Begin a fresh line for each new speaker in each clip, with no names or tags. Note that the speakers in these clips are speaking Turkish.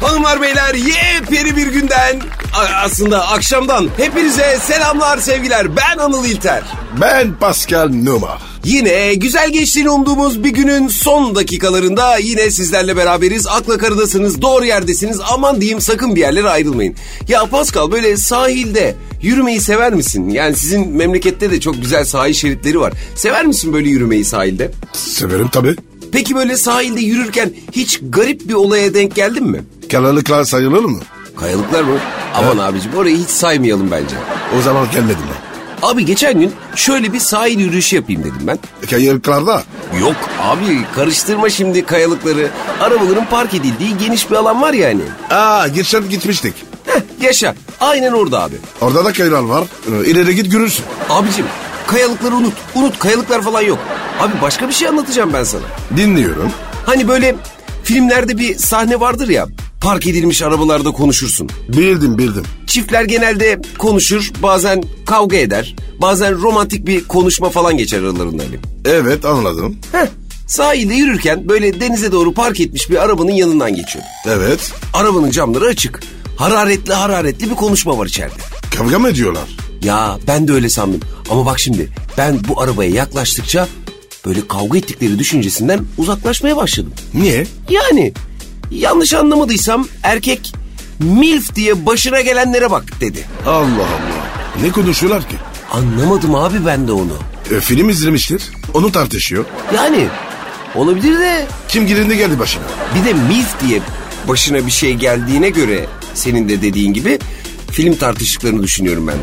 Hanımlar beyler yepyeni bir günden a- aslında akşamdan hepinize selamlar sevgiler ben Anıl İlter.
Ben Pascal Numa.
Yine güzel geçtiğini umduğumuz bir günün son dakikalarında yine sizlerle beraberiz. Akla karadasınız, doğru yerdesiniz. Aman diyeyim sakın bir yerlere ayrılmayın. Ya Pascal böyle sahilde yürümeyi sever misin? Yani sizin memlekette de çok güzel sahil şeritleri var. Sever misin böyle yürümeyi sahilde?
Severim tabii.
Peki böyle sahilde yürürken hiç garip bir olaya denk geldin mi?
Kalalıklar sayılır mı?
Kayalıklar mı? Aman abicim orayı hiç saymayalım bence.
O zaman gelmedim ben.
Abi geçen gün şöyle bir sahil yürüyüşü yapayım dedim ben.
Kayalıklarda
Yok abi karıştırma şimdi kayalıkları. Arabaların park edildiği geniş bir alan var yani.
Aa geçen gitmiştik.
Heh, yaşa aynen orada abi.
Orada da kayalar var. Ee, İleri git görürsün.
Abicim kayalıkları unut. Unut kayalıklar falan yok. Abi başka bir şey anlatacağım ben sana.
Dinliyorum.
Hani böyle filmlerde bir sahne vardır ya. Park edilmiş arabalarda konuşursun.
Bildim bildim.
Çiftler genelde konuşur, bazen kavga eder, bazen romantik bir konuşma falan geçer aralarında. hani.
Evet anladım.
Heh, sahilde yürürken böyle denize doğru park etmiş bir arabanın yanından geçiyor.
Evet.
Arabanın camları açık. Hararetli hararetli bir konuşma var içeride.
Kavga mı ediyorlar?
Ya ben de öyle sandım. Ama bak şimdi ben bu arabaya yaklaştıkça böyle kavga ettikleri düşüncesinden uzaklaşmaya başladım.
Niye?
Yani yanlış anlamadıysam erkek MILF diye başına gelenlere bak dedi.
Allah Allah. Ne konuşuyorlar ki?
Anlamadım abi ben de onu.
Ee, film izlemiştir. Onu tartışıyor.
Yani olabilir de
Kim girindi geldi başına.
bir de MILF diye başına bir şey geldiğine göre senin de dediğin gibi film tartıştıklarını düşünüyorum ben de.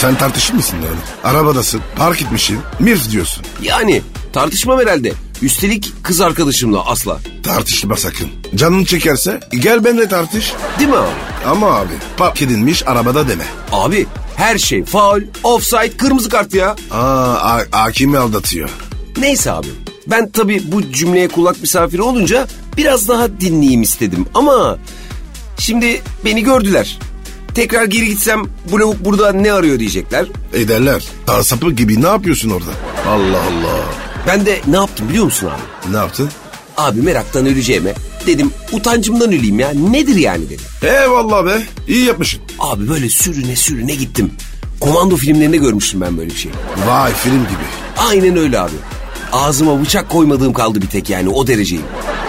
Sen tartışır mısın yani? Arabadasın. Park etmişsin. Mirf diyorsun.
Yani tartışmam herhalde. Üstelik kız arkadaşımla asla.
Tartışma sakın. Canın çekerse gel benimle tartış.
Değil mi abi?
Ama abi park edilmiş arabada deme.
Abi her şey faul, offside, kırmızı kart ya.
Aa ha- hakimi aldatıyor.
Neyse abi. Ben tabii bu cümleye kulak misafiri olunca biraz daha dinleyeyim istedim. Ama şimdi beni gördüler. Tekrar geri gitsem bu lavuk burada ne arıyor diyecekler.
Ederler. Dağ sapı gibi ne yapıyorsun orada? Allah Allah.
Ben de ne yaptım biliyor musun abi?
Ne yaptın?
Abi meraktan öleceğime dedim utancımdan öleyim ya nedir yani dedim.
Eyvallah be. İyi yapmışsın.
Abi böyle sürüne sürüne gittim. Komando filmlerinde görmüştüm ben böyle bir şey.
Vay film gibi.
Aynen öyle abi. Ağzıma bıçak koymadığım kaldı bir tek yani o dereceyim.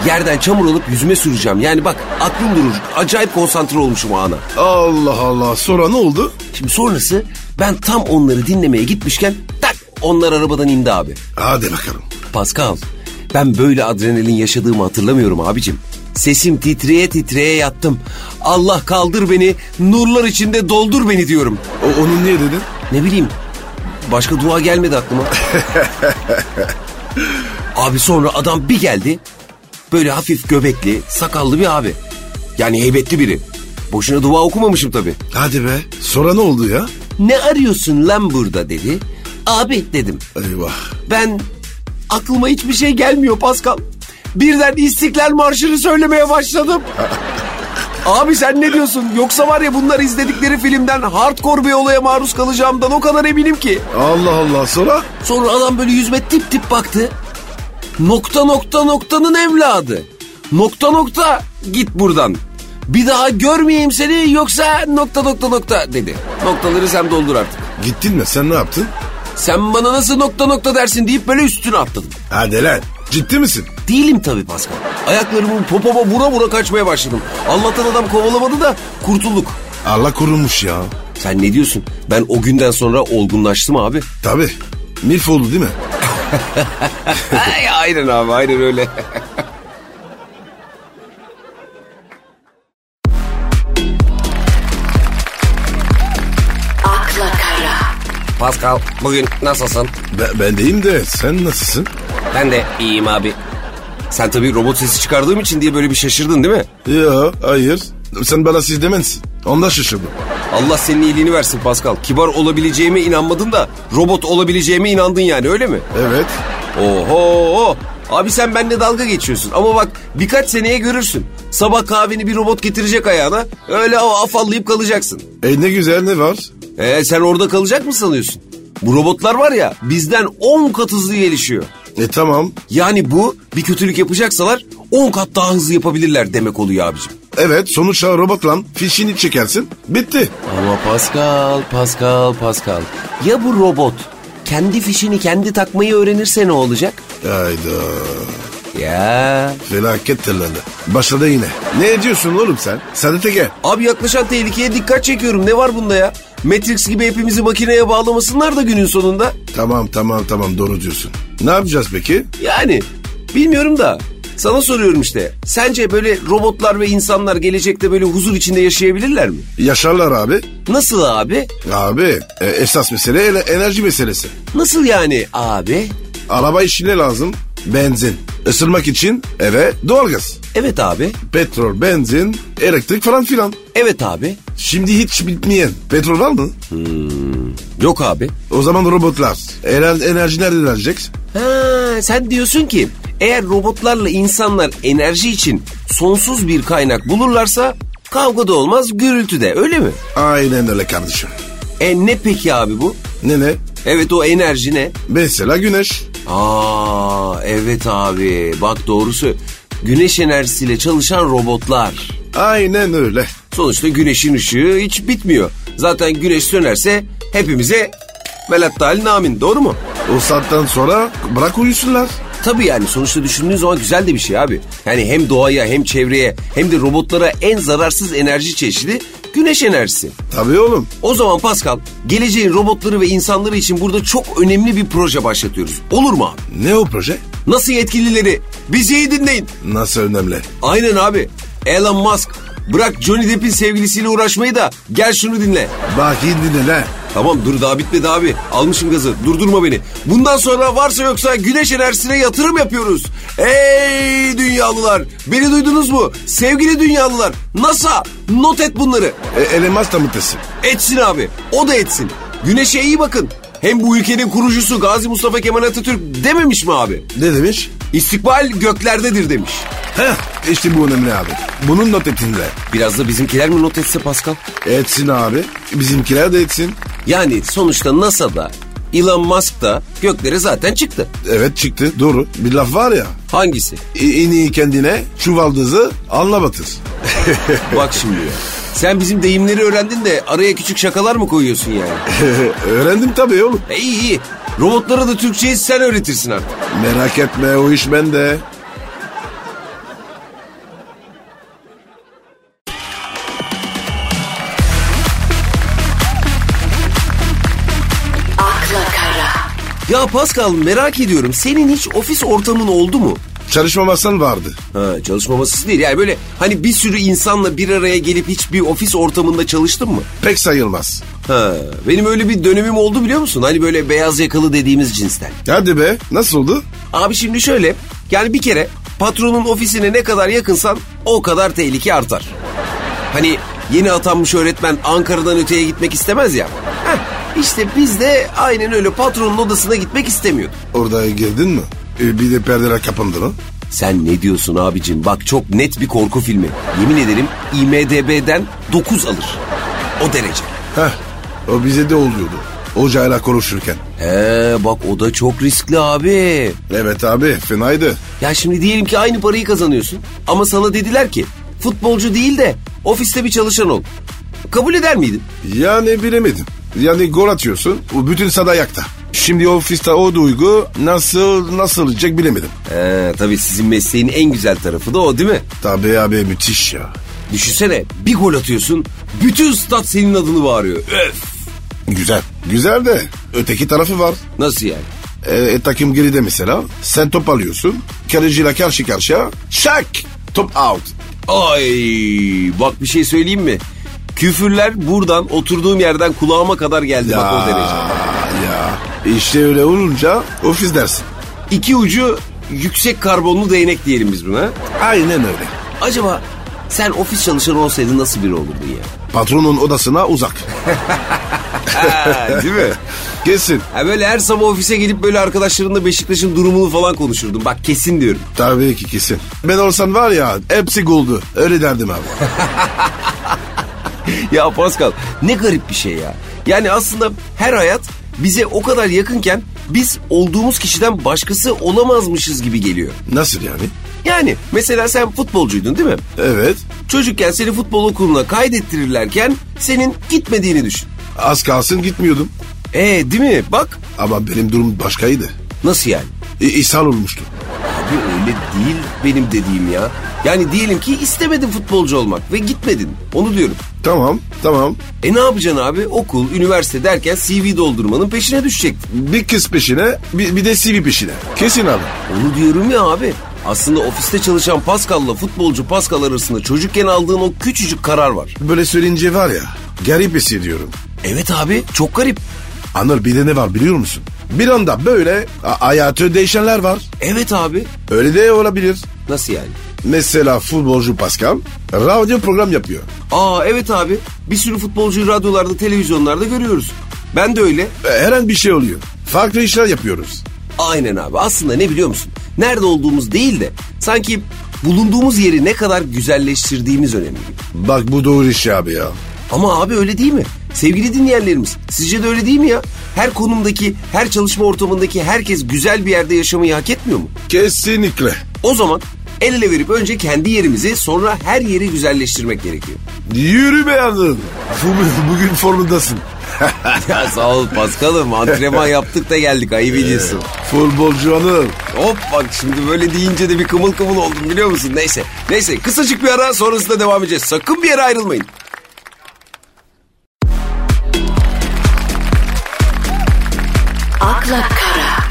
Yerden çamur alıp yüzüme süreceğim. Yani bak aklım durur. Acayip konsantre olmuşum o ana.
Allah Allah. Sonra ne oldu?
Şimdi sonrası ben tam onları dinlemeye gitmişken tak onlar arabadan indi abi.
Hadi bakalım.
Pascal ben böyle adrenalin yaşadığımı hatırlamıyorum abicim. Sesim titreye titreye yattım. Allah kaldır beni nurlar içinde doldur beni diyorum.
O, onu niye dedin?
Ne bileyim başka dua gelmedi aklıma. abi sonra adam bir geldi. Böyle hafif göbekli, sakallı bir abi. Yani heybetli biri. Boşuna dua okumamışım tabii.
Hadi be. Sonra ne oldu ya?
Ne arıyorsun lan burada dedi. Abi dedim.
Eyvah.
Ben aklıma hiçbir şey gelmiyor Pascal. Birden İstiklal Marşı'nı söylemeye başladım. Abi sen ne diyorsun? Yoksa var ya bunlar izledikleri filmden hardcore bir olaya maruz kalacağımdan o kadar eminim ki.
Allah Allah. Sonra?
Sonra adam böyle yüzme tip tip baktı. Nokta nokta noktanın evladı. Nokta nokta git buradan. Bir daha görmeyeyim seni yoksa nokta nokta nokta dedi. Noktaları sen doldur artık.
Gittin mi? Sen ne yaptın?
Sen bana nasıl nokta nokta dersin deyip böyle üstüne atladım.
Hadi lan. Ciddi misin?
Değilim tabii Pascal. Ayaklarımı popoma vura vura kaçmaya başladım. Allah'tan adam kovalamadı da kurtulduk.
Allah korumuş ya.
Sen ne diyorsun? Ben o günden sonra olgunlaştım abi.
Tabii. Mirf oldu değil mi?
Ay, aynen abi aynen öyle.
akla kara,
Pascal bugün nasılsın?
Ben, ben deyim de sen nasılsın?
Ben de iyiyim abi. Sen tabii robot sesi çıkardığım için diye böyle bir şaşırdın değil mi?
Ya hayır. Sen bana siz demezsin. Ondan şaşırdım.
Allah senin iyiliğini versin Pascal. Kibar olabileceğime inanmadın da robot olabileceğime inandın yani öyle mi?
Evet.
Oho! Abi sen benimle dalga geçiyorsun ama bak birkaç seneye görürsün. Sabah kahveni bir robot getirecek ayağına öyle o afallayıp kalacaksın.
E ne güzel ne var?
Ee, sen orada kalacak mı sanıyorsun? Bu robotlar var ya bizden 10 kat hızlı gelişiyor.
E tamam.
Yani bu bir kötülük yapacaksalar 10 kat daha hızlı yapabilirler demek oluyor abicim.
Evet sonuçta robotla fişini çekersin. Bitti.
Ama Pascal, Pascal, Pascal. Ya bu robot kendi fişini kendi takmayı öğrenirse ne olacak?
Hayda.
Ya.
Felaket tırladı. Başladı yine. Ne ediyorsun oğlum sen? Sadete gel.
Abi yaklaşan tehlikeye dikkat çekiyorum. Ne var bunda ya? Matrix gibi hepimizi makineye bağlamasınlar da günün sonunda.
Tamam tamam tamam doğru diyorsun. Ne yapacağız peki?
Yani bilmiyorum da sana soruyorum işte. Sence böyle robotlar ve insanlar gelecekte böyle huzur içinde yaşayabilirler mi?
Yaşarlar abi.
Nasıl abi?
Abi e, esas mesele ele- enerji meselesi.
Nasıl yani abi?
Araba işine lazım benzin. Isırmak için eve doğalgaz.
Evet abi.
Petrol, benzin, elektrik falan filan.
Evet abi.
Şimdi hiç bitmeyen petrol var mı?
Yok abi.
O zaman robotlar. Eren, enerji nereden alacak?
Ha, sen diyorsun ki eğer robotlarla insanlar enerji için sonsuz bir kaynak bulurlarsa kavga da olmaz gürültü de öyle mi?
Aynen öyle kardeşim.
E ne peki abi bu?
Ne ne?
Evet o enerji ne?
Mesela güneş.
Aa evet abi bak doğrusu güneş enerjisiyle çalışan robotlar.
Aynen öyle.
Sonuçta güneşin ışığı hiç bitmiyor. Zaten güneş sönerse hepimize melattal namin doğru mu?
O saatten sonra bırak uyusunlar.
Tabii yani sonuçta düşündüğün zaman güzel de bir şey abi. Yani hem doğaya hem çevreye hem de robotlara en zararsız enerji çeşidi güneş enerjisi.
Tabii oğlum.
O zaman Pascal geleceğin robotları ve insanları için burada çok önemli bir proje başlatıyoruz. Olur mu abi?
Ne o proje?
Nasıl yetkilileri? Bizi iyi dinleyin.
Nasıl önemli?
Aynen abi. Elon Musk bırak Johnny Depp'in sevgilisiyle uğraşmayı da gel şunu dinle.
Bak indin ne?
Tamam dur daha bitmedi abi. Almışım gazı. Durdurma beni. Bundan sonra varsa yoksa güneş enerjisine yatırım yapıyoruz. Ey dünyalılar. Beni duydunuz mu? Sevgili dünyalılar. NASA not et bunları.
E, elemaz da mı tesin?
Etsin abi. O da etsin. Güneşe iyi bakın. Hem bu ülkenin kurucusu Gazi Mustafa Kemal Atatürk dememiş mi abi?
Ne demiş?
İstikbal göklerdedir demiş.
Heh, işte bu önemli abi. Bunun not etinde.
Biraz da bizimkiler mi not etse Pascal?
Etsin abi. Bizimkiler de etsin.
Yani sonuçta NASA'da Elon Musk da göklere zaten çıktı.
Evet çıktı doğru. Bir laf var ya.
Hangisi?
i- En iyi kendine çuvaldızı anla batır.
Bak şimdi ya. Sen bizim deyimleri öğrendin de araya küçük şakalar mı koyuyorsun yani?
Öğrendim tabii oğlum.
E iyi iyi. Robotlara da Türkçeyi sen öğretirsin artık.
Merak etme o iş bende.
akla kara,
Ya Pascal merak ediyorum senin hiç ofis ortamın oldu mu?
Çalışma masan vardı.
Ha çalışma masası değil yani böyle hani bir sürü insanla bir araya gelip hiçbir ofis ortamında çalıştın mı?
Pek sayılmaz.
Ha benim öyle bir dönemim oldu biliyor musun? Hani böyle beyaz yakalı dediğimiz cinsten.
Hadi be nasıl oldu?
Abi şimdi şöyle yani bir kere patronun ofisine ne kadar yakınsan o kadar tehlike artar. Hani yeni atanmış öğretmen Ankara'dan öteye gitmek istemez ya. Heh, işte biz de aynen öyle patronun odasına gitmek istemiyorduk.
Orada girdin mi? E, bir de perdeler kapandı lan.
Sen ne diyorsun abicim? Bak çok net bir korku filmi. Yemin ederim IMDB'den 9 alır. O derece.
Heh, o bize de oluyordu. Hocayla konuşurken.
He bak o da çok riskli abi.
Evet abi fenaydı.
Ya şimdi diyelim ki aynı parayı kazanıyorsun ama sana dediler ki futbolcu değil de ofiste bir çalışan ol. Kabul eder miydin?
Yani bilemedim. Yani gol atıyorsun. O bütün sada ayakta. Şimdi ofiste o duygu nasıl nasıl olacak bilemedim.
Ee, tabii sizin mesleğin en güzel tarafı da o değil mi?
Tabii abi müthiş ya.
Düşünsene bir gol atıyorsun bütün stat senin adını bağırıyor. Ee, Öf!
Güzel. Güzel de öteki tarafı var.
Nasıl yani?
E, e, takım geride mesela. Sen top alıyorsun. Kaleciyle karşı karşıya. Şak! Top out.
Ay bak bir şey söyleyeyim mi? Küfürler buradan oturduğum yerden kulağıma kadar geldi bak o derece.
ya. İşte öyle olunca ofis dersin.
İki ucu yüksek karbonlu değnek diyelim biz buna.
Aynen öyle.
Acaba sen ofis çalışanı olsaydın nasıl biri olurdun ya?
Patronun odasına uzak.
Ha, değil mi?
Kesin.
Ha böyle her sabah ofise gelip böyle arkadaşlarımla Beşiktaş'ın durumunu falan konuşurdum. Bak kesin diyorum.
Tabii ki kesin. Ben olsan var ya hepsi goldu. Öyle derdim abi.
ya Pascal ne garip bir şey ya. Yani aslında her hayat bize o kadar yakınken biz olduğumuz kişiden başkası olamazmışız gibi geliyor.
Nasıl yani?
Yani mesela sen futbolcuydun değil mi?
Evet.
Çocukken seni futbol okuluna kaydettirirlerken senin gitmediğini düşün.
Az kalsın gitmiyordum.
E değil mi? Bak
Ama benim durum başkaydı.
nasıl yani?
E, ishal olmuştu.
Abi öyle değil benim dediğim ya. Yani diyelim ki istemedin futbolcu olmak ve gitmedin. Onu diyorum.
Tamam tamam.
E ne yapacaksın abi? Okul, üniversite derken CV doldurmanın peşine düşecektin.
Bir kız peşine bir, bir de CV peşine. Kesin abi.
Onu diyorum ya abi. Aslında ofiste çalışan Pascal'la futbolcu Pascal arasında çocukken aldığın o küçücük karar var.
Böyle söyleyince var ya garip hissediyorum.
Evet abi çok garip.
Anıl bir de ne var biliyor musun? Bir anda böyle a- hayatı değişenler var.
Evet abi.
Öyle de olabilir.
Nasıl yani?
Mesela futbolcu Pascal radyo program yapıyor.
Aa evet abi. Bir sürü futbolcuyu radyolarda, televizyonlarda görüyoruz. Ben de öyle.
E, Her an bir şey oluyor. Farklı işler yapıyoruz.
Aynen abi. Aslında ne biliyor musun? Nerede olduğumuz değil de sanki bulunduğumuz yeri ne kadar güzelleştirdiğimiz önemli. gibi.
Bak bu doğru iş abi ya.
Ama abi öyle değil mi? Sevgili dinleyenlerimiz sizce de öyle değil mi ya? Her konumdaki, her çalışma ortamındaki herkes güzel bir yerde yaşamayı hak etmiyor mu?
Kesinlikle.
O zaman el ele verip önce kendi yerimizi sonra her yeri güzelleştirmek gerekiyor.
Yürü be Anıl. Bu- Bugün formundasın.
Ya sağ ol Paskal'ım antrenman yaptık da geldik ayıp ediyorsun.
Futbolcu Anıl.
Hop bak şimdi böyle deyince de bir kımıl kımıl oldum biliyor musun? Neyse. Neyse kısacık bir ara sonrasında devam edeceğiz. Sakın bir yere ayrılmayın.
akla kara,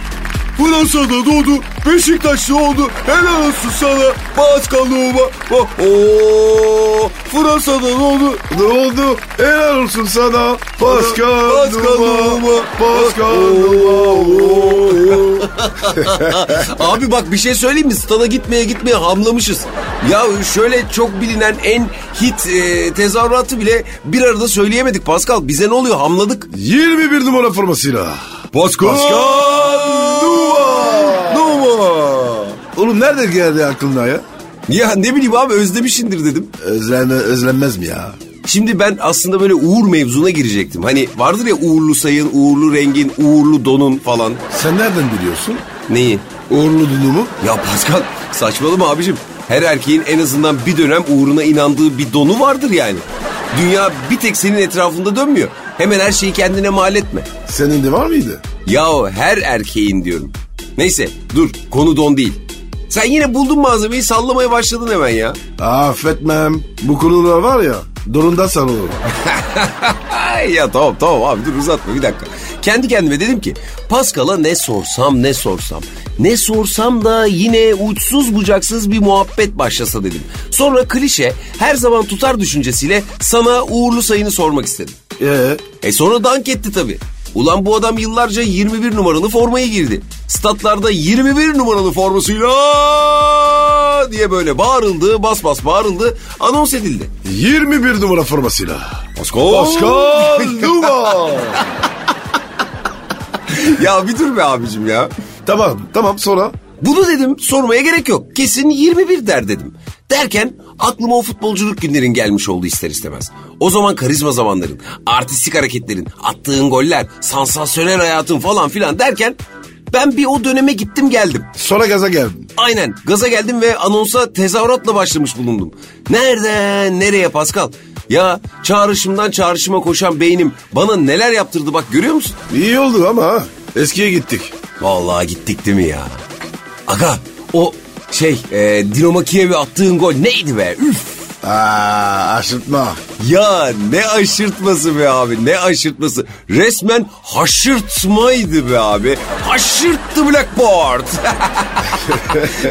Bu nasıl da doğdu? Beşiktaşlı oldu. Helal olsun sana. Başkanlığıma. Oo, Fransa'da ne oldu? Ne oldu? Helal olsun sana. Başkanlığıma. Başkanlığıma.
Abi bak bir şey söyleyeyim mi? Stada gitmeye gitmeye hamlamışız. Ya şöyle çok bilinen en hit e, tezahüratı bile bir arada söyleyemedik Pascal. Bize ne oluyor? Hamladık.
21 numara formasıyla.
Pascal.
Oğlum nerede geldi aklına ya?
Ya ne bileyim abi özlemişindir dedim.
Özlenme, özlenmez mi ya?
Şimdi ben aslında böyle uğur mevzuna girecektim. Hani vardır ya uğurlu sayın, uğurlu rengin, uğurlu donun falan.
Sen nereden biliyorsun?
Neyi?
Uğurlu dunu mu?
Ya Pascal saçmalama abicim. Her erkeğin en azından bir dönem uğruna inandığı bir donu vardır yani. Dünya bir tek senin etrafında dönmüyor. Hemen her şeyi kendine mal etme.
Senin de var mıydı?
Yahu her erkeğin diyorum. Neyse dur konu don değil. Sen yine buldun malzemeyi sallamaya başladın hemen ya.
Affetmem. Bu konular var ya. Durunda sarılır.
ya tamam tamam abi dur uzatma bir dakika. Kendi kendime dedim ki Pascal'a ne sorsam ne sorsam. Ne sorsam da yine uçsuz bucaksız bir muhabbet başlasa dedim. Sonra klişe her zaman tutar düşüncesiyle sana uğurlu sayını sormak istedim.
Ee,
E sonra dank etti tabii. Ulan bu adam yıllarca 21 numaralı formayı girdi. Statlarda 21 numaralı formasıyla diye böyle bağırıldı, bas bas bağırıldı, anons edildi.
21 numara formasıyla.
Pascal!
Pascal Numa.
ya bir dur be abicim ya.
tamam tamam sonra.
Bunu dedim sormaya gerek yok. Kesin 21 der dedim. Derken aklıma o futbolculuk günlerin gelmiş oldu ister istemez. O zaman karizma zamanların, artistik hareketlerin, attığın goller, sansasyonel hayatın falan filan derken ben bir o döneme gittim geldim.
Sonra gaza geldim.
Aynen gaza geldim ve anonsa tezahüratla başlamış bulundum. Nereden nereye Pascal? Ya çağrışımdan çağrışıma koşan beynim bana neler yaptırdı bak görüyor musun?
İyi oldu ama ha. Eskiye gittik.
Vallahi gittik değil mi ya? Aga o şey e, Dinamo Kiev'e attığın gol neydi be? Üf!
Aa, aşırtma.
Ya ne aşırtması be abi ne aşırtması. Resmen haşırtmaydı be abi. Haşırttı Blackboard.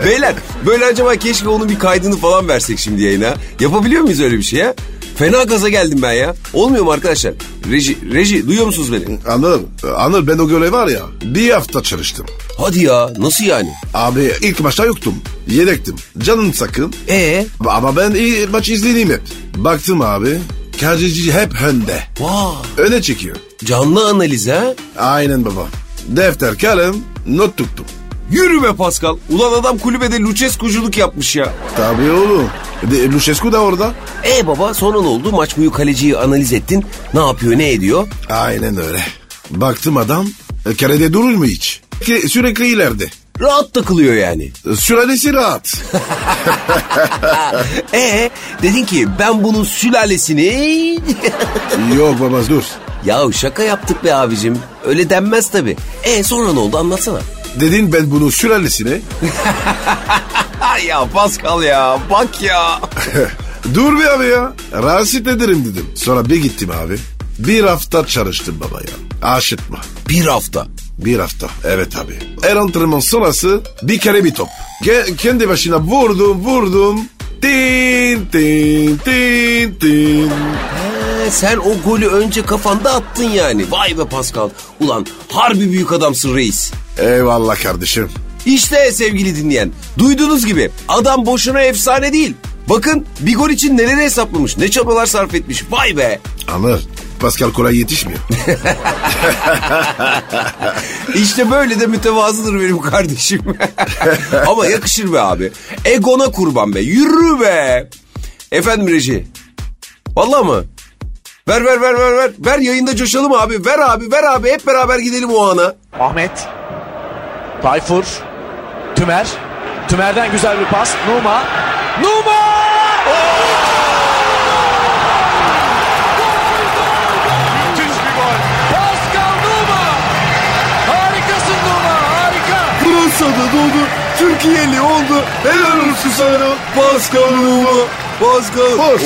Beyler böyle acaba keşke onun bir kaydını falan versek şimdi yayına. Yapabiliyor muyuz öyle bir şey ya? Fena gaza geldim ben ya. Olmuyor mu arkadaşlar? Reji, reji duyuyor musunuz beni?
Anıl, Anıl ben o göre var ya bir hafta çalıştım.
Hadi ya nasıl yani?
Abi ilk maçta yoktum. Yedektim. Canım sakın.
E
Ama ben iyi maç izleyeyim hep. Baktım abi. Kalecisi hep önde.
vaa
Öne çekiyor.
canlı analiz ha?
Aynen baba. Defter kalem not tuttum.
Yürü be Pascal. Ulan adam kulübede Lucescu'culuk yapmış ya.
Tabii oğlum. De, Lucescu da orada.
E baba sonra ne oldu? Maç boyu kaleciyi analiz ettin. Ne yapıyor ne ediyor?
Aynen öyle. Baktım adam e, kalede durur mu hiç? Ki- Sürekli ileride.
Rahat takılıyor yani.
Sülalesi rahat.
Ee dedin ki ben bunun sülalesini...
Yok babaz dur.
ya şaka yaptık be abicim. Öyle denmez tabii. E sonra ne oldu anlatsana.
Dedin ben bunu sülalesine.
Ay ya Pascal ya bak ya.
Dur be abi ya. Rahatsız ederim dedim. Sonra bir gittim abi. Bir hafta çalıştım baba ya. Aşıtma.
Bir hafta.
Bir hafta. Evet abi. Her antrenman sonrası bir kere bir top. Ge- kendi başına vurdum vurdum. Tin tin tin tin.
Ee, sen o golü önce kafanda attın yani. Vay be Pascal. Ulan harbi büyük adamsın reis.
Eyvallah kardeşim.
İşte sevgili dinleyen. Duyduğunuz gibi adam boşuna efsane değil. Bakın bir gol için neleri hesaplamış, ne çabalar sarf etmiş. Vay be.
Anlar. Pascal kolay yetişmiyor.
İşte böyle de mütevazıdır benim kardeşim. Ama yakışır be abi. Egona kurban be. Yürü be. Efendim reji. Vallahi mı? Ver ver ver ver ver. Ver yayında coşalım abi. Ver abi ver abi. Hep beraber gidelim o ana.
Ahmet. Tayfur. Tümer. Tümer'den güzel bir pas. Numa. Numa! Müthiş bir gol. Pascal Numa. Harikasın Numa. Harika.
Fransa'da doğdu. Türkiye'li oldu. Helal olsun sana. Pascal Numa. Pascal.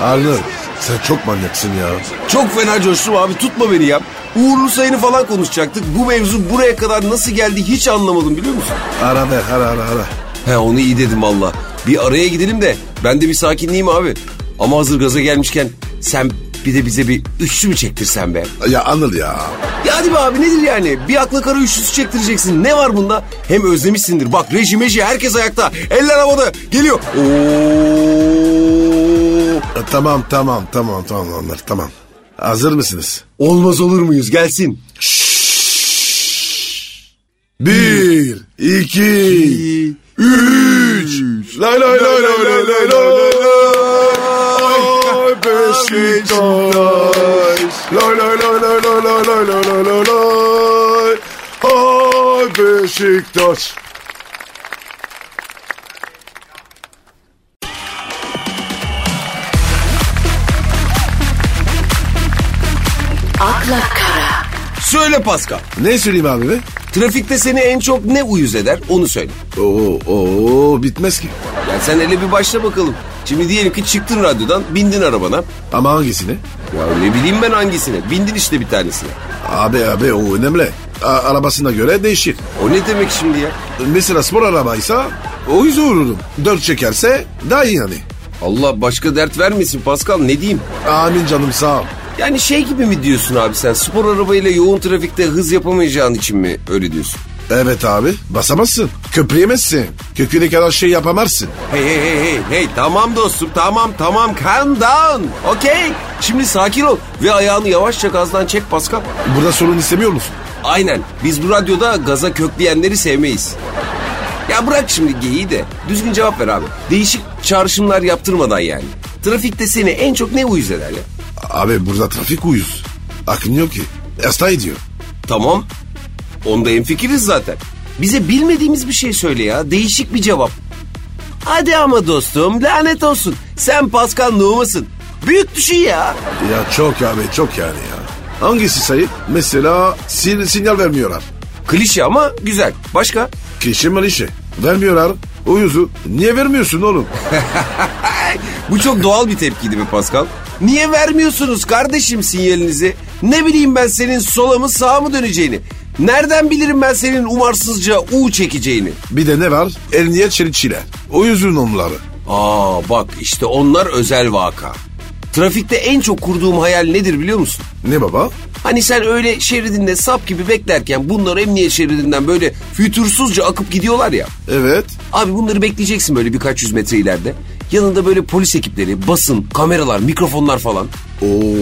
Arnold sen çok manyaksın ya.
Çok fena coştum abi tutma beni ya. Uğurlu sayını falan konuşacaktık. Bu mevzu buraya kadar nasıl geldi hiç anlamadım biliyor musun?
Ara ver ara ara ara.
He onu iyi dedim valla. Bir araya gidelim de ben de bir sakinleyeyim abi. Ama hazır gaza gelmişken sen bir de bize bir üçlü mü çektirsen be?
Ya Anıl ya.
Ya hadi be abi nedir yani? Bir akla kara üçlüsü çektireceksin. Ne var bunda? Hem özlemişsindir. Bak reji meji herkes ayakta. Eller havada. Geliyor. Oo.
E, Tamam tamam tamam tamam Anıl tamam. Hazır mısınız?
Olmaz olur muyuz? Gelsin.
Bir, iki, üç. Lay lay lay lay lay lay lay lay. Beşiktaş. Lay lay lay lay lay lay lay lay lay lay lay. Ay Beşiktaş.
akla kara,
Söyle Pascal.
Ne söyleyeyim abi be?
Trafikte seni en çok ne uyuz eder onu söyle.
Oo, oo, bitmez ki.
Ya sen hele bir başla bakalım. Şimdi diyelim ki çıktın radyodan bindin arabana.
Ama hangisini?
Ya ne bileyim ben hangisine. Bindin işte bir tanesine.
Abi abi o önemli. A- arabasına göre değişir.
O ne demek şimdi ya?
Mesela spor arabaysa o yüzden vururum. Dört çekerse daha iyi hani. yani.
Allah başka dert vermesin Pascal ne diyeyim?
Amin canım sağ ol.
Yani şey gibi mi diyorsun abi sen spor arabayla yoğun trafikte hız yapamayacağın için mi öyle diyorsun?
Evet abi basamazsın. Köprüyemezsin. Köküne kadar şey yapamazsın.
Hey hey hey hey hey tamam dostum tamam tamam calm down okey. Şimdi sakin ol ve ayağını yavaşça gazdan çek Pascal.
Burada sorun istemiyor musun?
Aynen biz bu radyoda gaza kökleyenleri sevmeyiz. Ya bırak şimdi geyiği de düzgün cevap ver abi. Değişik çağrışımlar yaptırmadan yani. Trafikte seni en çok ne uyuz eder ya?
Abi burada trafik uyuz. Aklın yok ki. Hasta ediyor.
Tamam. Onda hemfikiriz zaten. Bize bilmediğimiz bir şey söyle ya. Değişik bir cevap. Hadi ama dostum lanet olsun. Sen Pascal Numa'sın. Büyük düşün ya.
Ya çok abi çok yani ya. Hangisi sayıp? Mesela sin- sinyal vermiyorlar.
Klişe ama güzel. Başka?
Kişi malişi. Vermiyorlar. Uyuzu. Niye vermiyorsun oğlum?
Bu çok doğal bir tepkiydi be Pascal. Niye vermiyorsunuz kardeşim sinyalinizi? Ne bileyim ben senin sola mı sağa mı döneceğini? Nereden bilirim ben senin umarsızca U çekeceğini?
Bir de ne var? Emniyet şeritçiler. O yüzün onları.
Aa bak işte onlar özel vaka. Trafikte en çok kurduğum hayal nedir biliyor musun?
Ne baba?
Hani sen öyle şeridinde sap gibi beklerken bunlar emniyet şeridinden böyle fütursuzca akıp gidiyorlar ya.
Evet.
Abi bunları bekleyeceksin böyle birkaç yüz metre ileride. Yanında böyle polis ekipleri, basın, kameralar, mikrofonlar falan.
Oo,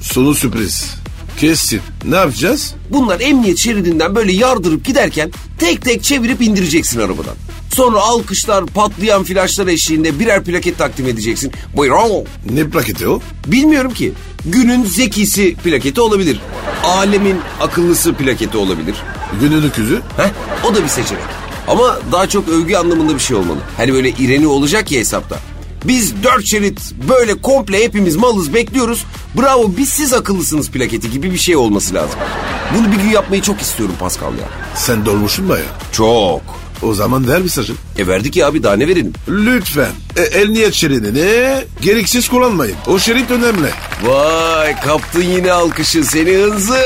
sonu sürpriz. Kesin. Ne yapacağız?
Bunlar emniyet şeridinden böyle yardırıp giderken tek tek çevirip indireceksin arabadan. Sonra alkışlar, patlayan flaşlar eşliğinde birer plaket takdim edeceksin. Buyurun.
Ne plaketi o?
Bilmiyorum ki. Günün zekisi plaketi olabilir. alemin akıllısı plaketi olabilir.
Günün öküzü.
Heh, o da bir seçenek. Ama daha çok övgü anlamında bir şey olmalı. Hani böyle ireni olacak ya hesapta. Biz dört şerit böyle komple hepimiz malız bekliyoruz. Bravo biz siz akıllısınız plaketi gibi bir şey olması lazım. Bunu bir gün yapmayı çok istiyorum Pascal ya.
Sen dolmuşsun baya.
Çok.
O zaman ver mesajı.
E verdik ya abi daha ne verelim?
Lütfen e, el niyet şeridini gereksiz kullanmayın. O şerit önemli.
Vay kaptın yine alkışı seni hınzır.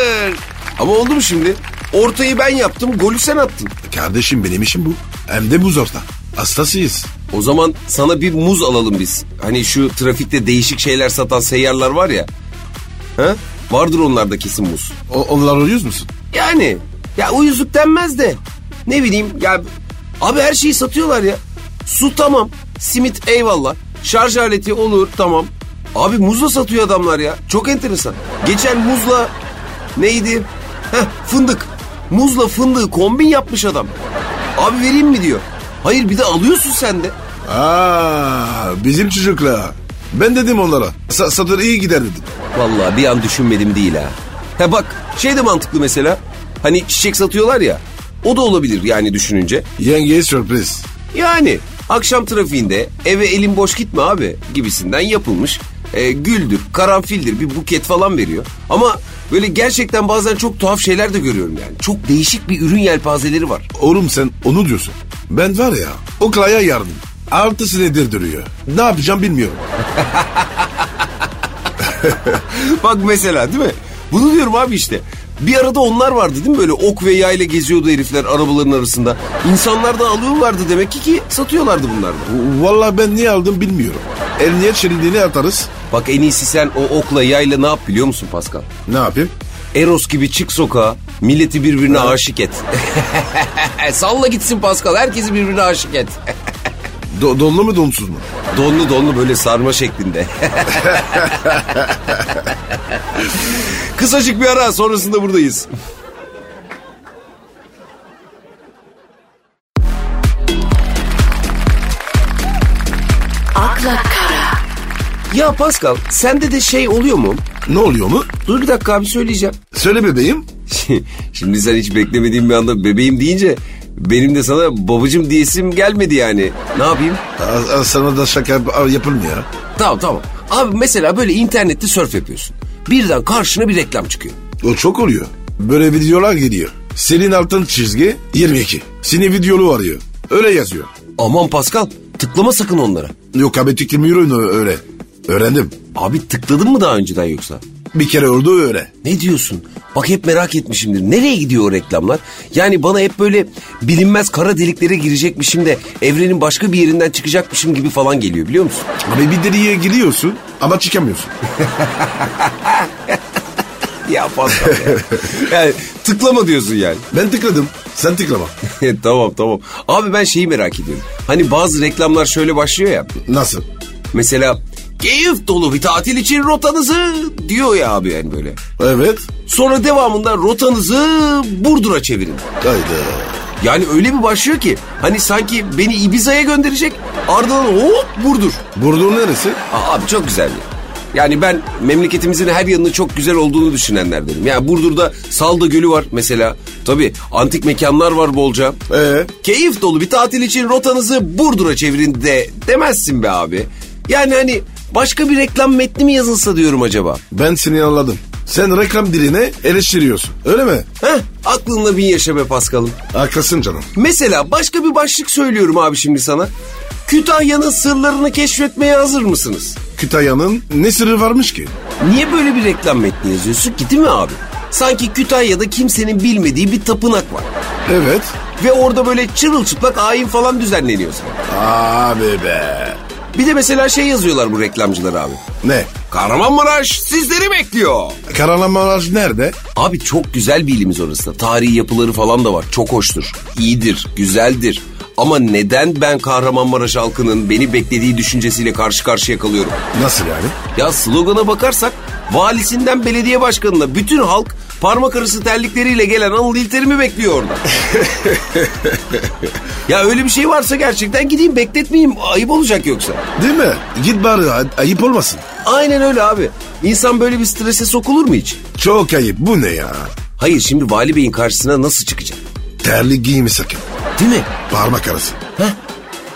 Ama oldu mu şimdi? Ortayı ben yaptım golü sen attın.
Kardeşim benim işim bu. Hem de bu zorda. Hastasıyız.
O zaman sana bir muz alalım biz. Hani şu trafikte değişik şeyler satan seyyarlar var ya. Ha? Vardır onlarda kesin muz.
O, onlar uyuz musun?
Yani ya uyuzluk denmez de ne bileyim ya abi her şeyi satıyorlar ya. Su tamam, simit eyvallah, şarj aleti olur tamam. Abi muz da satıyor adamlar ya. Çok enteresan. Geçen muzla neydi? Heh, fındık. Muzla fındığı kombin yapmış adam. Abi vereyim mi diyor. Hayır bir de alıyorsun sen de.
Aa, bizim çocukla. Ben dedim onlara. Sa- satır iyi gider dedim.
Vallahi bir an düşünmedim değil ha. He bak şey de mantıklı mesela. Hani çiçek satıyorlar ya. O da olabilir yani düşününce.
Yengeye sürpriz.
Yani akşam trafiğinde eve elin boş gitme abi gibisinden yapılmış. E, güldür, karanfildir bir buket falan veriyor. Ama böyle gerçekten bazen çok tuhaf şeyler de görüyorum yani. Çok değişik bir ürün yelpazeleri var.
Oğlum sen onu diyorsun. Ben var ya o klaya yardım. Altı senedir duruyor. Ne yapacağım bilmiyorum.
Bak mesela değil mi? Bunu diyorum abi işte. Bir arada onlar vardı değil mi böyle ok ve yayla geziyordu herifler arabaların arasında. İnsanlar da alıyorlardı demek ki ki satıyorlardı bunlar da.
Vallahi ben niye aldım bilmiyorum. El niyet şeridini atarız.
Bak en iyisi sen o okla yayla ne yap biliyor musun Pascal?
Ne yapayım?
Eros gibi çık sokağa, milleti birbirine aşık et. Salla gitsin Pascal, herkesi birbirine aşık et.
Do- donlu mu donsuz mu?
donlu donlu böyle sarma şeklinde. Kısacık bir ara sonrasında buradayız.
akla kara,
Ya Pascal sende de şey oluyor mu?
Ne oluyor mu?
Dur bir dakika abi söyleyeceğim.
Söyle bebeğim.
Şimdi sen hiç beklemediğim bir anda bebeğim deyince benim de sana babacım diyesim gelmedi yani. Ne yapayım?
Aa, aa, sana da şaka yap- aa, yapılmıyor.
Tamam tamam. Abi mesela böyle internette sörf yapıyorsun. Birden karşına bir reklam çıkıyor.
O çok oluyor. Böyle videolar geliyor. Senin altın çizgi 22. Seni videolu arıyor. Öyle yazıyor.
Aman Pascal tıklama sakın onlara.
Yok abi tükürmüyorum öyle. Öğrendim.
Abi tıkladın mı daha önceden yoksa?
Bir kere oldu öyle.
Ne diyorsun? Bak hep merak etmişimdir. Nereye gidiyor o reklamlar? Yani bana hep böyle bilinmez kara deliklere girecekmişim de evrenin başka bir yerinden çıkacakmışım gibi falan geliyor biliyor musun?
Abi bir deliğe giriyorsun ama çıkamıyorsun.
Ya Pascal ya. yani tıklama diyorsun yani.
Ben tıkladım. Sen tıklama.
tamam tamam. Abi ben şeyi merak ediyorum. Hani bazı reklamlar şöyle başlıyor ya.
Nasıl?
Mesela keyif dolu bir tatil için rotanızı diyor ya abi yani böyle.
Evet.
Sonra devamında rotanızı Burdur'a çevirin.
Hayda.
Yani öyle bir başlıyor ki hani sanki beni Ibiza'ya gönderecek ardından hop Burdur.
Burdur neresi?
Aa, abi çok güzel ya. Yani ben memleketimizin her yanının çok güzel olduğunu düşünenlerdenim. Yani Burdur'da Salda Gölü var mesela. Tabii antik mekanlar var bolca.
Ee?
Keyif dolu bir tatil için rotanızı Burdur'a çevirin de demezsin be abi. Yani hani başka bir reklam metni mi yazılsa diyorum acaba.
Ben seni anladım. Sen reklam diline eleştiriyorsun. Öyle mi?
Heh, aklınla bin yaşa be Paskal'ım.
Haklısın canım.
Mesela başka bir başlık söylüyorum abi şimdi sana. Kütahya'nın sırlarını keşfetmeye hazır mısınız?
Kütahya'nın ne sırrı varmış ki?
Niye böyle bir reklam metni yazıyorsun ki değil mi abi? Sanki Kütahya'da kimsenin bilmediği bir tapınak var.
Evet.
Ve orada böyle çırılçıplak ayin falan düzenleniyor sanki.
Abi be.
Bir de mesela şey yazıyorlar bu reklamcılar abi.
Ne?
Kahramanmaraş sizleri bekliyor.
Karalamaraş nerede?
Abi çok güzel bir ilimiz orası da. Tarihi yapıları falan da var. Çok hoştur. İyidir, güzeldir. Ama neden ben Kahramanmaraş halkının beni beklediği düşüncesiyle karşı karşıya kalıyorum?
Nasıl yani?
Ya slogana bakarsak valisinden belediye başkanına bütün halk parmak arası terlikleriyle gelen Anıl İlter'imi bekliyor orada. ya öyle bir şey varsa gerçekten gideyim bekletmeyeyim ayıp olacak yoksa.
Değil mi? Git bari ay- ayıp olmasın.
Aynen öyle abi. İnsan böyle bir strese sokulur mu hiç?
Çok ayıp bu ne ya?
Hayır şimdi vali beyin karşısına nasıl çıkacak?
Terli giyme sakın.
Değil mi?
Parmak arası.
Heh.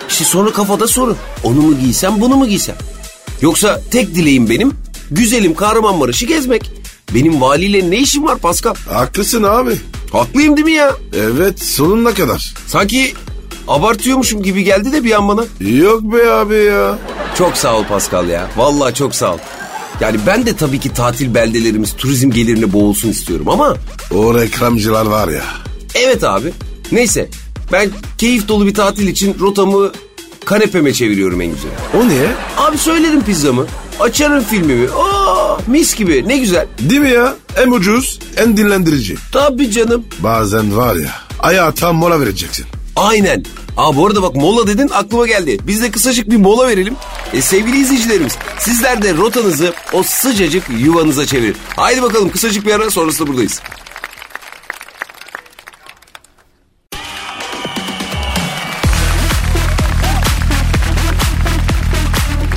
İşte sonra kafada sorun. Onu mu giysem bunu mu giysem? Yoksa tek dileğim benim güzelim Kahramanmaraş'ı gezmek. Benim valiyle ne işim var Pascal?
Haklısın abi.
Haklıyım değil mi ya?
Evet sonuna kadar.
Sanki abartıyormuşum gibi geldi de bir an bana.
Yok be abi ya.
Çok sağ ol Pascal ya. Vallahi çok sağ ol. Yani ben de tabii ki tatil beldelerimiz turizm gelirine boğulsun istiyorum ama
O reklamcılar var ya.
evet abi. Neyse ben keyif dolu bir tatil için rotamı kanepeme çeviriyorum en güzel.
O niye?
Abi söylerim pizzamı, açarım filmimi. Aa, mis gibi ne güzel.
Değil mi ya? Hem ucuz hem dinlendirici.
Tabii canım.
Bazen var ya ayağa tam mola vereceksin.
Aynen. Aa bu arada bak mola dedin aklıma geldi. Biz de kısacık bir mola verelim. E, sevgili izleyicilerimiz sizler de rotanızı o sıcacık yuvanıza çevirin. Haydi bakalım kısacık bir ara sonrasında buradayız.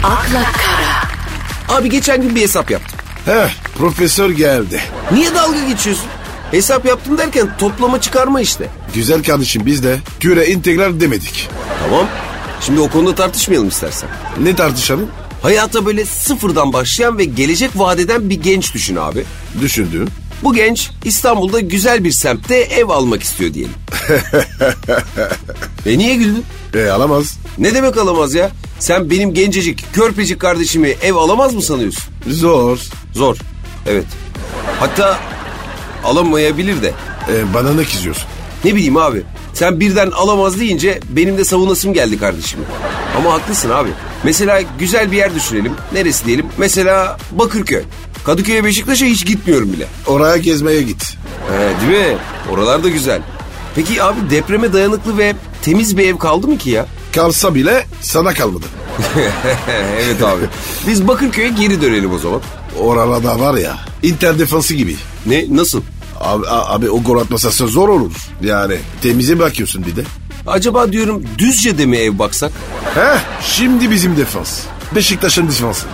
akla kara,
Abi geçen gün bir hesap yaptım.
Heh profesör geldi.
Niye dalga geçiyorsun? Hesap yaptım derken toplama çıkarma işte.
Güzel kardeşim biz de küre integral demedik.
Tamam. Şimdi o konuda tartışmayalım istersen.
Ne tartışalım?
Hayata böyle sıfırdan başlayan ve gelecek vadeden bir genç düşün abi.
Düşündüğün.
Bu genç İstanbul'da güzel bir semtte ev almak istiyor diyelim. e niye güldün?
E alamaz.
Ne demek alamaz ya? Sen benim gencecik, körpecik kardeşimi ev alamaz mı sanıyorsun?
Zor.
Zor. Evet. Hatta alamayabilir de.
E, bana ne kızıyorsun?
Ne bileyim abi. Sen birden alamaz deyince benim de savunasım geldi kardeşim. Ama haklısın abi. Mesela güzel bir yer düşünelim. Neresi diyelim? Mesela Bakırköy. Kadıköy'e Beşiktaş'a hiç gitmiyorum bile.
Oraya gezmeye git.
He, değil mi? Oralar da güzel. Peki abi depreme dayanıklı ve temiz bir ev kaldı mı ki ya?
Kalsa bile sana kalmadı.
evet abi. Biz Bakırköy'e geri dönelim o zaman.
Orada var ya inter defansı gibi.
Ne? Nasıl?
Abi, a- abi o gol atmasası zor olur. Yani temize bakıyorsun bir de.
Acaba diyorum Düzce'de mi ev baksak?
Heh şimdi bizim defans. Beşiktaş'ın defansı.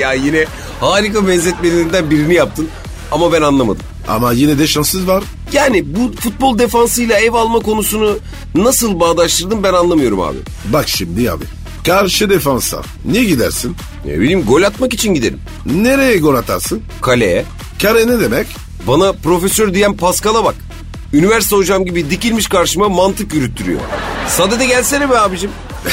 ya yine harika benzetmelerinden birini yaptın ama ben anlamadım.
Ama yine de şanssız var.
Yani bu futbol defansıyla ev alma konusunu nasıl bağdaştırdın ben anlamıyorum abi.
Bak şimdi abi. Karşı defansa ne gidersin?
Ne bileyim gol atmak için giderim.
Nereye gol atarsın?
Kaleye.
Kare ne demek?
Bana profesör diyen Paskal'a bak. Üniversite hocam gibi dikilmiş karşıma mantık yürüttürüyor. Sadede gelsene be abicim.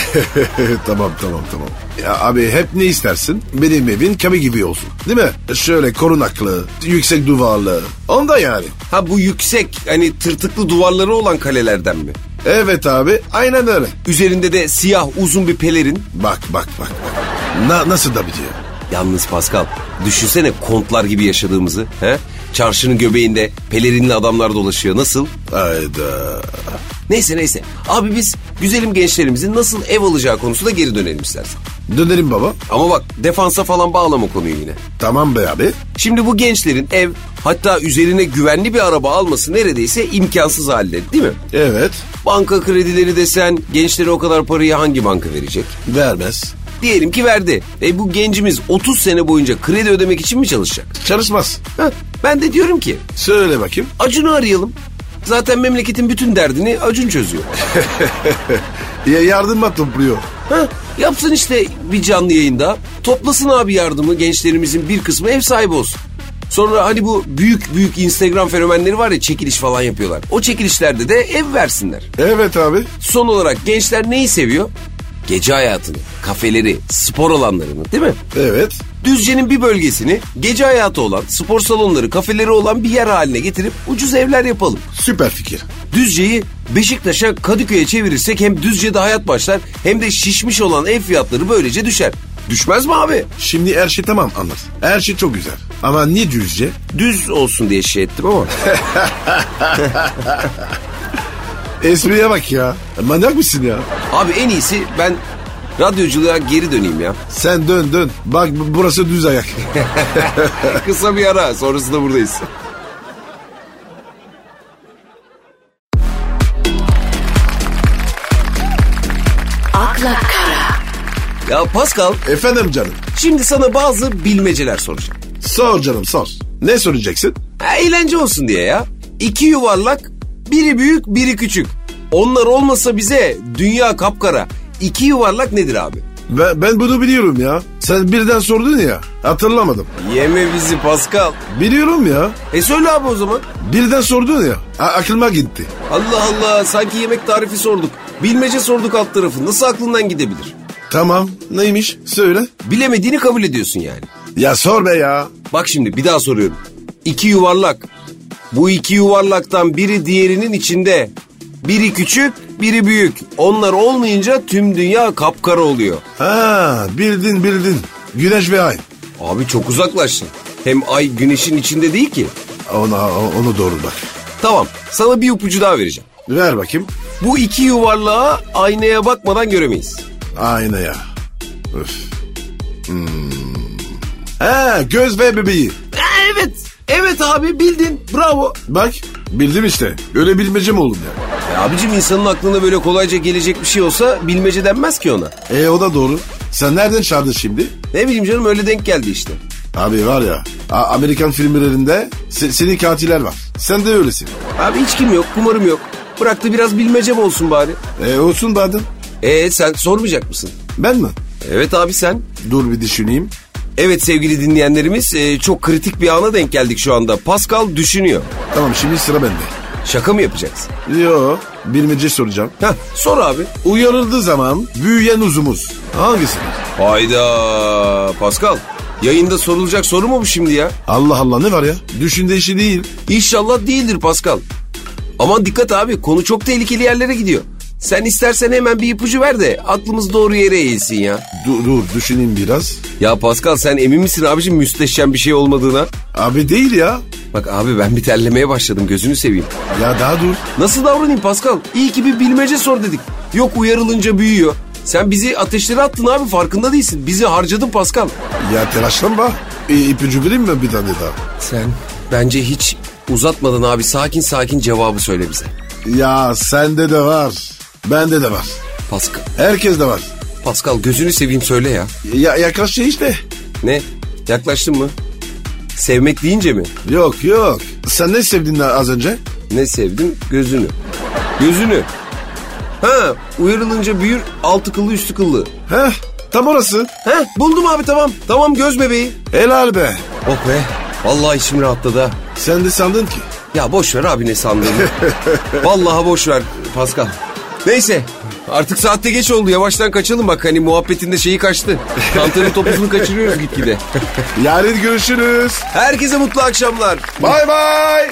tamam tamam tamam. Ya abi hep ne istersin? Benim evin kame gibi olsun. Değil mi? Şöyle korunaklı, yüksek duvarlı. Onda yani.
Ha bu yüksek hani tırtıklı duvarları olan kalelerden mi?
Evet abi aynen öyle.
Üzerinde de siyah uzun bir pelerin.
Bak bak bak. bak. Na, nasıl da biliyor?
Yalnız Pascal düşünsene kontlar gibi yaşadığımızı. He? Çarşının göbeğinde pelerinli adamlar dolaşıyor nasıl?
Hayda.
Neyse neyse. Abi biz güzelim gençlerimizin nasıl ev alacağı konusunda geri dönelim istersen.
Dönelim baba.
Ama bak defansa falan bağlama konuyu yine.
Tamam be abi.
Şimdi bu gençlerin ev hatta üzerine güvenli bir araba alması neredeyse imkansız halde değil mi?
Evet.
Banka kredileri desen gençlere o kadar parayı hangi banka verecek?
Vermez.
Diyelim ki verdi. E bu gencimiz 30 sene boyunca kredi ödemek için mi çalışacak?
Çalışmaz.
Heh, ben de diyorum ki
Söyle bakayım.
Acun'u arayalım. Zaten memleketin bütün derdini Acun çözüyor.
Ya yardım mı topluyor?
Heh, yapsın işte bir canlı yayında. Toplasın abi yardımı gençlerimizin bir kısmı ev sahibi olsun. Sonra hani bu büyük büyük Instagram fenomenleri var ya çekiliş falan yapıyorlar. O çekilişlerde de ev versinler.
Evet abi.
Son olarak gençler neyi seviyor? Gece hayatını, kafeleri, spor alanlarını değil mi?
Evet.
Düzce'nin bir bölgesini gece hayatı olan, spor salonları, kafeleri olan bir yer haline getirip ucuz evler yapalım.
Süper fikir.
Düzce'yi Beşiktaş'a Kadıköy'e çevirirsek hem Düzce'de hayat başlar hem de şişmiş olan ev fiyatları böylece düşer. Düşmez mi abi?
Şimdi her şey tamam anlat. Her şey çok güzel. Ama ne düzce?
Düz olsun diye şey ettim ama.
Espriye bak ya. Manyak mısın ya?
abi en iyisi ben radyoculuğa geri döneyim ya.
Sen dön dön. Bak bu- burası düz ayak.
Kısa bir ara sonrasında buradayız.
akla kara,
Ya Pascal
Efendim canım.
şimdi sana bazı bilmeceler soracağım.
Sor canım sor. Ne soracaksın?
Ha, Eğlence olsun diye ya. İki yuvarlak biri büyük biri küçük. Onlar olmasa bize dünya kapkara. İki yuvarlak nedir abi?
Ben, ben bunu biliyorum ya. Sen birden sordun ya. Hatırlamadım.
Yeme bizi Pascal.
Biliyorum ya.
E söyle abi o zaman.
Birden sordun ya. A- aklıma gitti.
Allah Allah sanki yemek tarifi sorduk. Bilmece sorduk alt tarafı. Nasıl aklından gidebilir?
Tamam. Neymiş? Söyle.
Bilemediğini kabul ediyorsun yani.
Ya sor be ya.
Bak şimdi bir daha soruyorum. İki yuvarlak. Bu iki yuvarlaktan biri diğerinin içinde. Biri küçük, biri büyük. Onlar olmayınca tüm dünya kapkara oluyor.
Ha bildin bildin. Güneş ve ay.
Abi çok uzaklaştın. Hem ay güneşin içinde değil ki.
Ona onu doğru bak.
Tamam, sana bir ipucu daha vereceğim.
Ver bakayım.
Bu iki yuvarlağı aynaya bakmadan göremeyiz.
Aynaya. ya. Öf. Hmm. Ha göz ve bebeği.
Ha, evet, evet abi bildin. Bravo.
Bak bildim işte. Öyle bilmece mi oğlum ya?
Ya E, abicim insanın aklına böyle kolayca gelecek bir şey olsa bilmece denmez ki ona.
E o da doğru. Sen nereden çağırdın şimdi?
Ne bileyim canım öyle denk geldi işte.
Abi var ya A- Amerikan filmlerinde se- seni katiller var. Sen de öylesin.
Abi içkim yok, kumarım yok. Bırak da biraz bilmecem olsun bari.
E olsun badem.
Ee sen sormayacak mısın?
Ben mi?
Evet abi sen.
Dur bir düşüneyim.
Evet sevgili dinleyenlerimiz e, çok kritik bir ana denk geldik şu anda. Pascal düşünüyor.
Tamam şimdi sıra bende.
Şaka mı yapacağız?
Yo bilmece soracağım.
Heh, sor abi.
Uyarıldığı zaman büyüyen uzumuz hangisidir?
Hayda Pascal. Yayında sorulacak soru mu bu şimdi ya?
Allah Allah ne var ya? Düşünde işi değil.
İnşallah değildir Pascal. Aman dikkat abi konu çok tehlikeli yerlere gidiyor. Sen istersen hemen bir ipucu ver de aklımız doğru yere eğilsin ya.
Dur, dur düşüneyim biraz.
Ya Pascal sen emin misin abicim müsteşem bir şey olmadığına?
Abi değil ya.
Bak abi ben bir terlemeye başladım gözünü seveyim.
Ya daha dur.
Nasıl davranayım Pascal? İyi ki bir bilmece sor dedik. Yok uyarılınca büyüyor. Sen bizi ateşlere attın abi farkında değilsin. Bizi harcadın Pascal.
Ya telaşlanma. E, ipucu vereyim mi bir tane daha?
Sen bence hiç uzatmadan abi sakin sakin cevabı söyle bize.
Ya sende de var. Bende de var.
Pascal,
Herkes de var.
Pascal gözünü seveyim söyle ya.
Ya yaklaş şey işte.
Ne? Yaklaştın mı? Sevmek deyince mi?
Yok yok. Sen ne sevdin lan az önce?
Ne sevdim? Gözünü. Gözünü. Ha, uyarılınca büyür altı kıllı üstü kıllı.
Heh tam orası.
Ha, buldum abi tamam. Tamam göz bebeği.
Helal be.
Oh be. Vallahi içim rahatladı ha.
Sen de sandın ki.
Ya boş ver abi ne sandın? Vallahi boş ver Pascal. Neyse artık saatte geç oldu yavaştan kaçalım bak hani muhabbetinde şeyi kaçtı. Kantarın topuzunu kaçırıyoruz gitgide.
Yarın görüşürüz.
Herkese mutlu akşamlar.
Bay bay.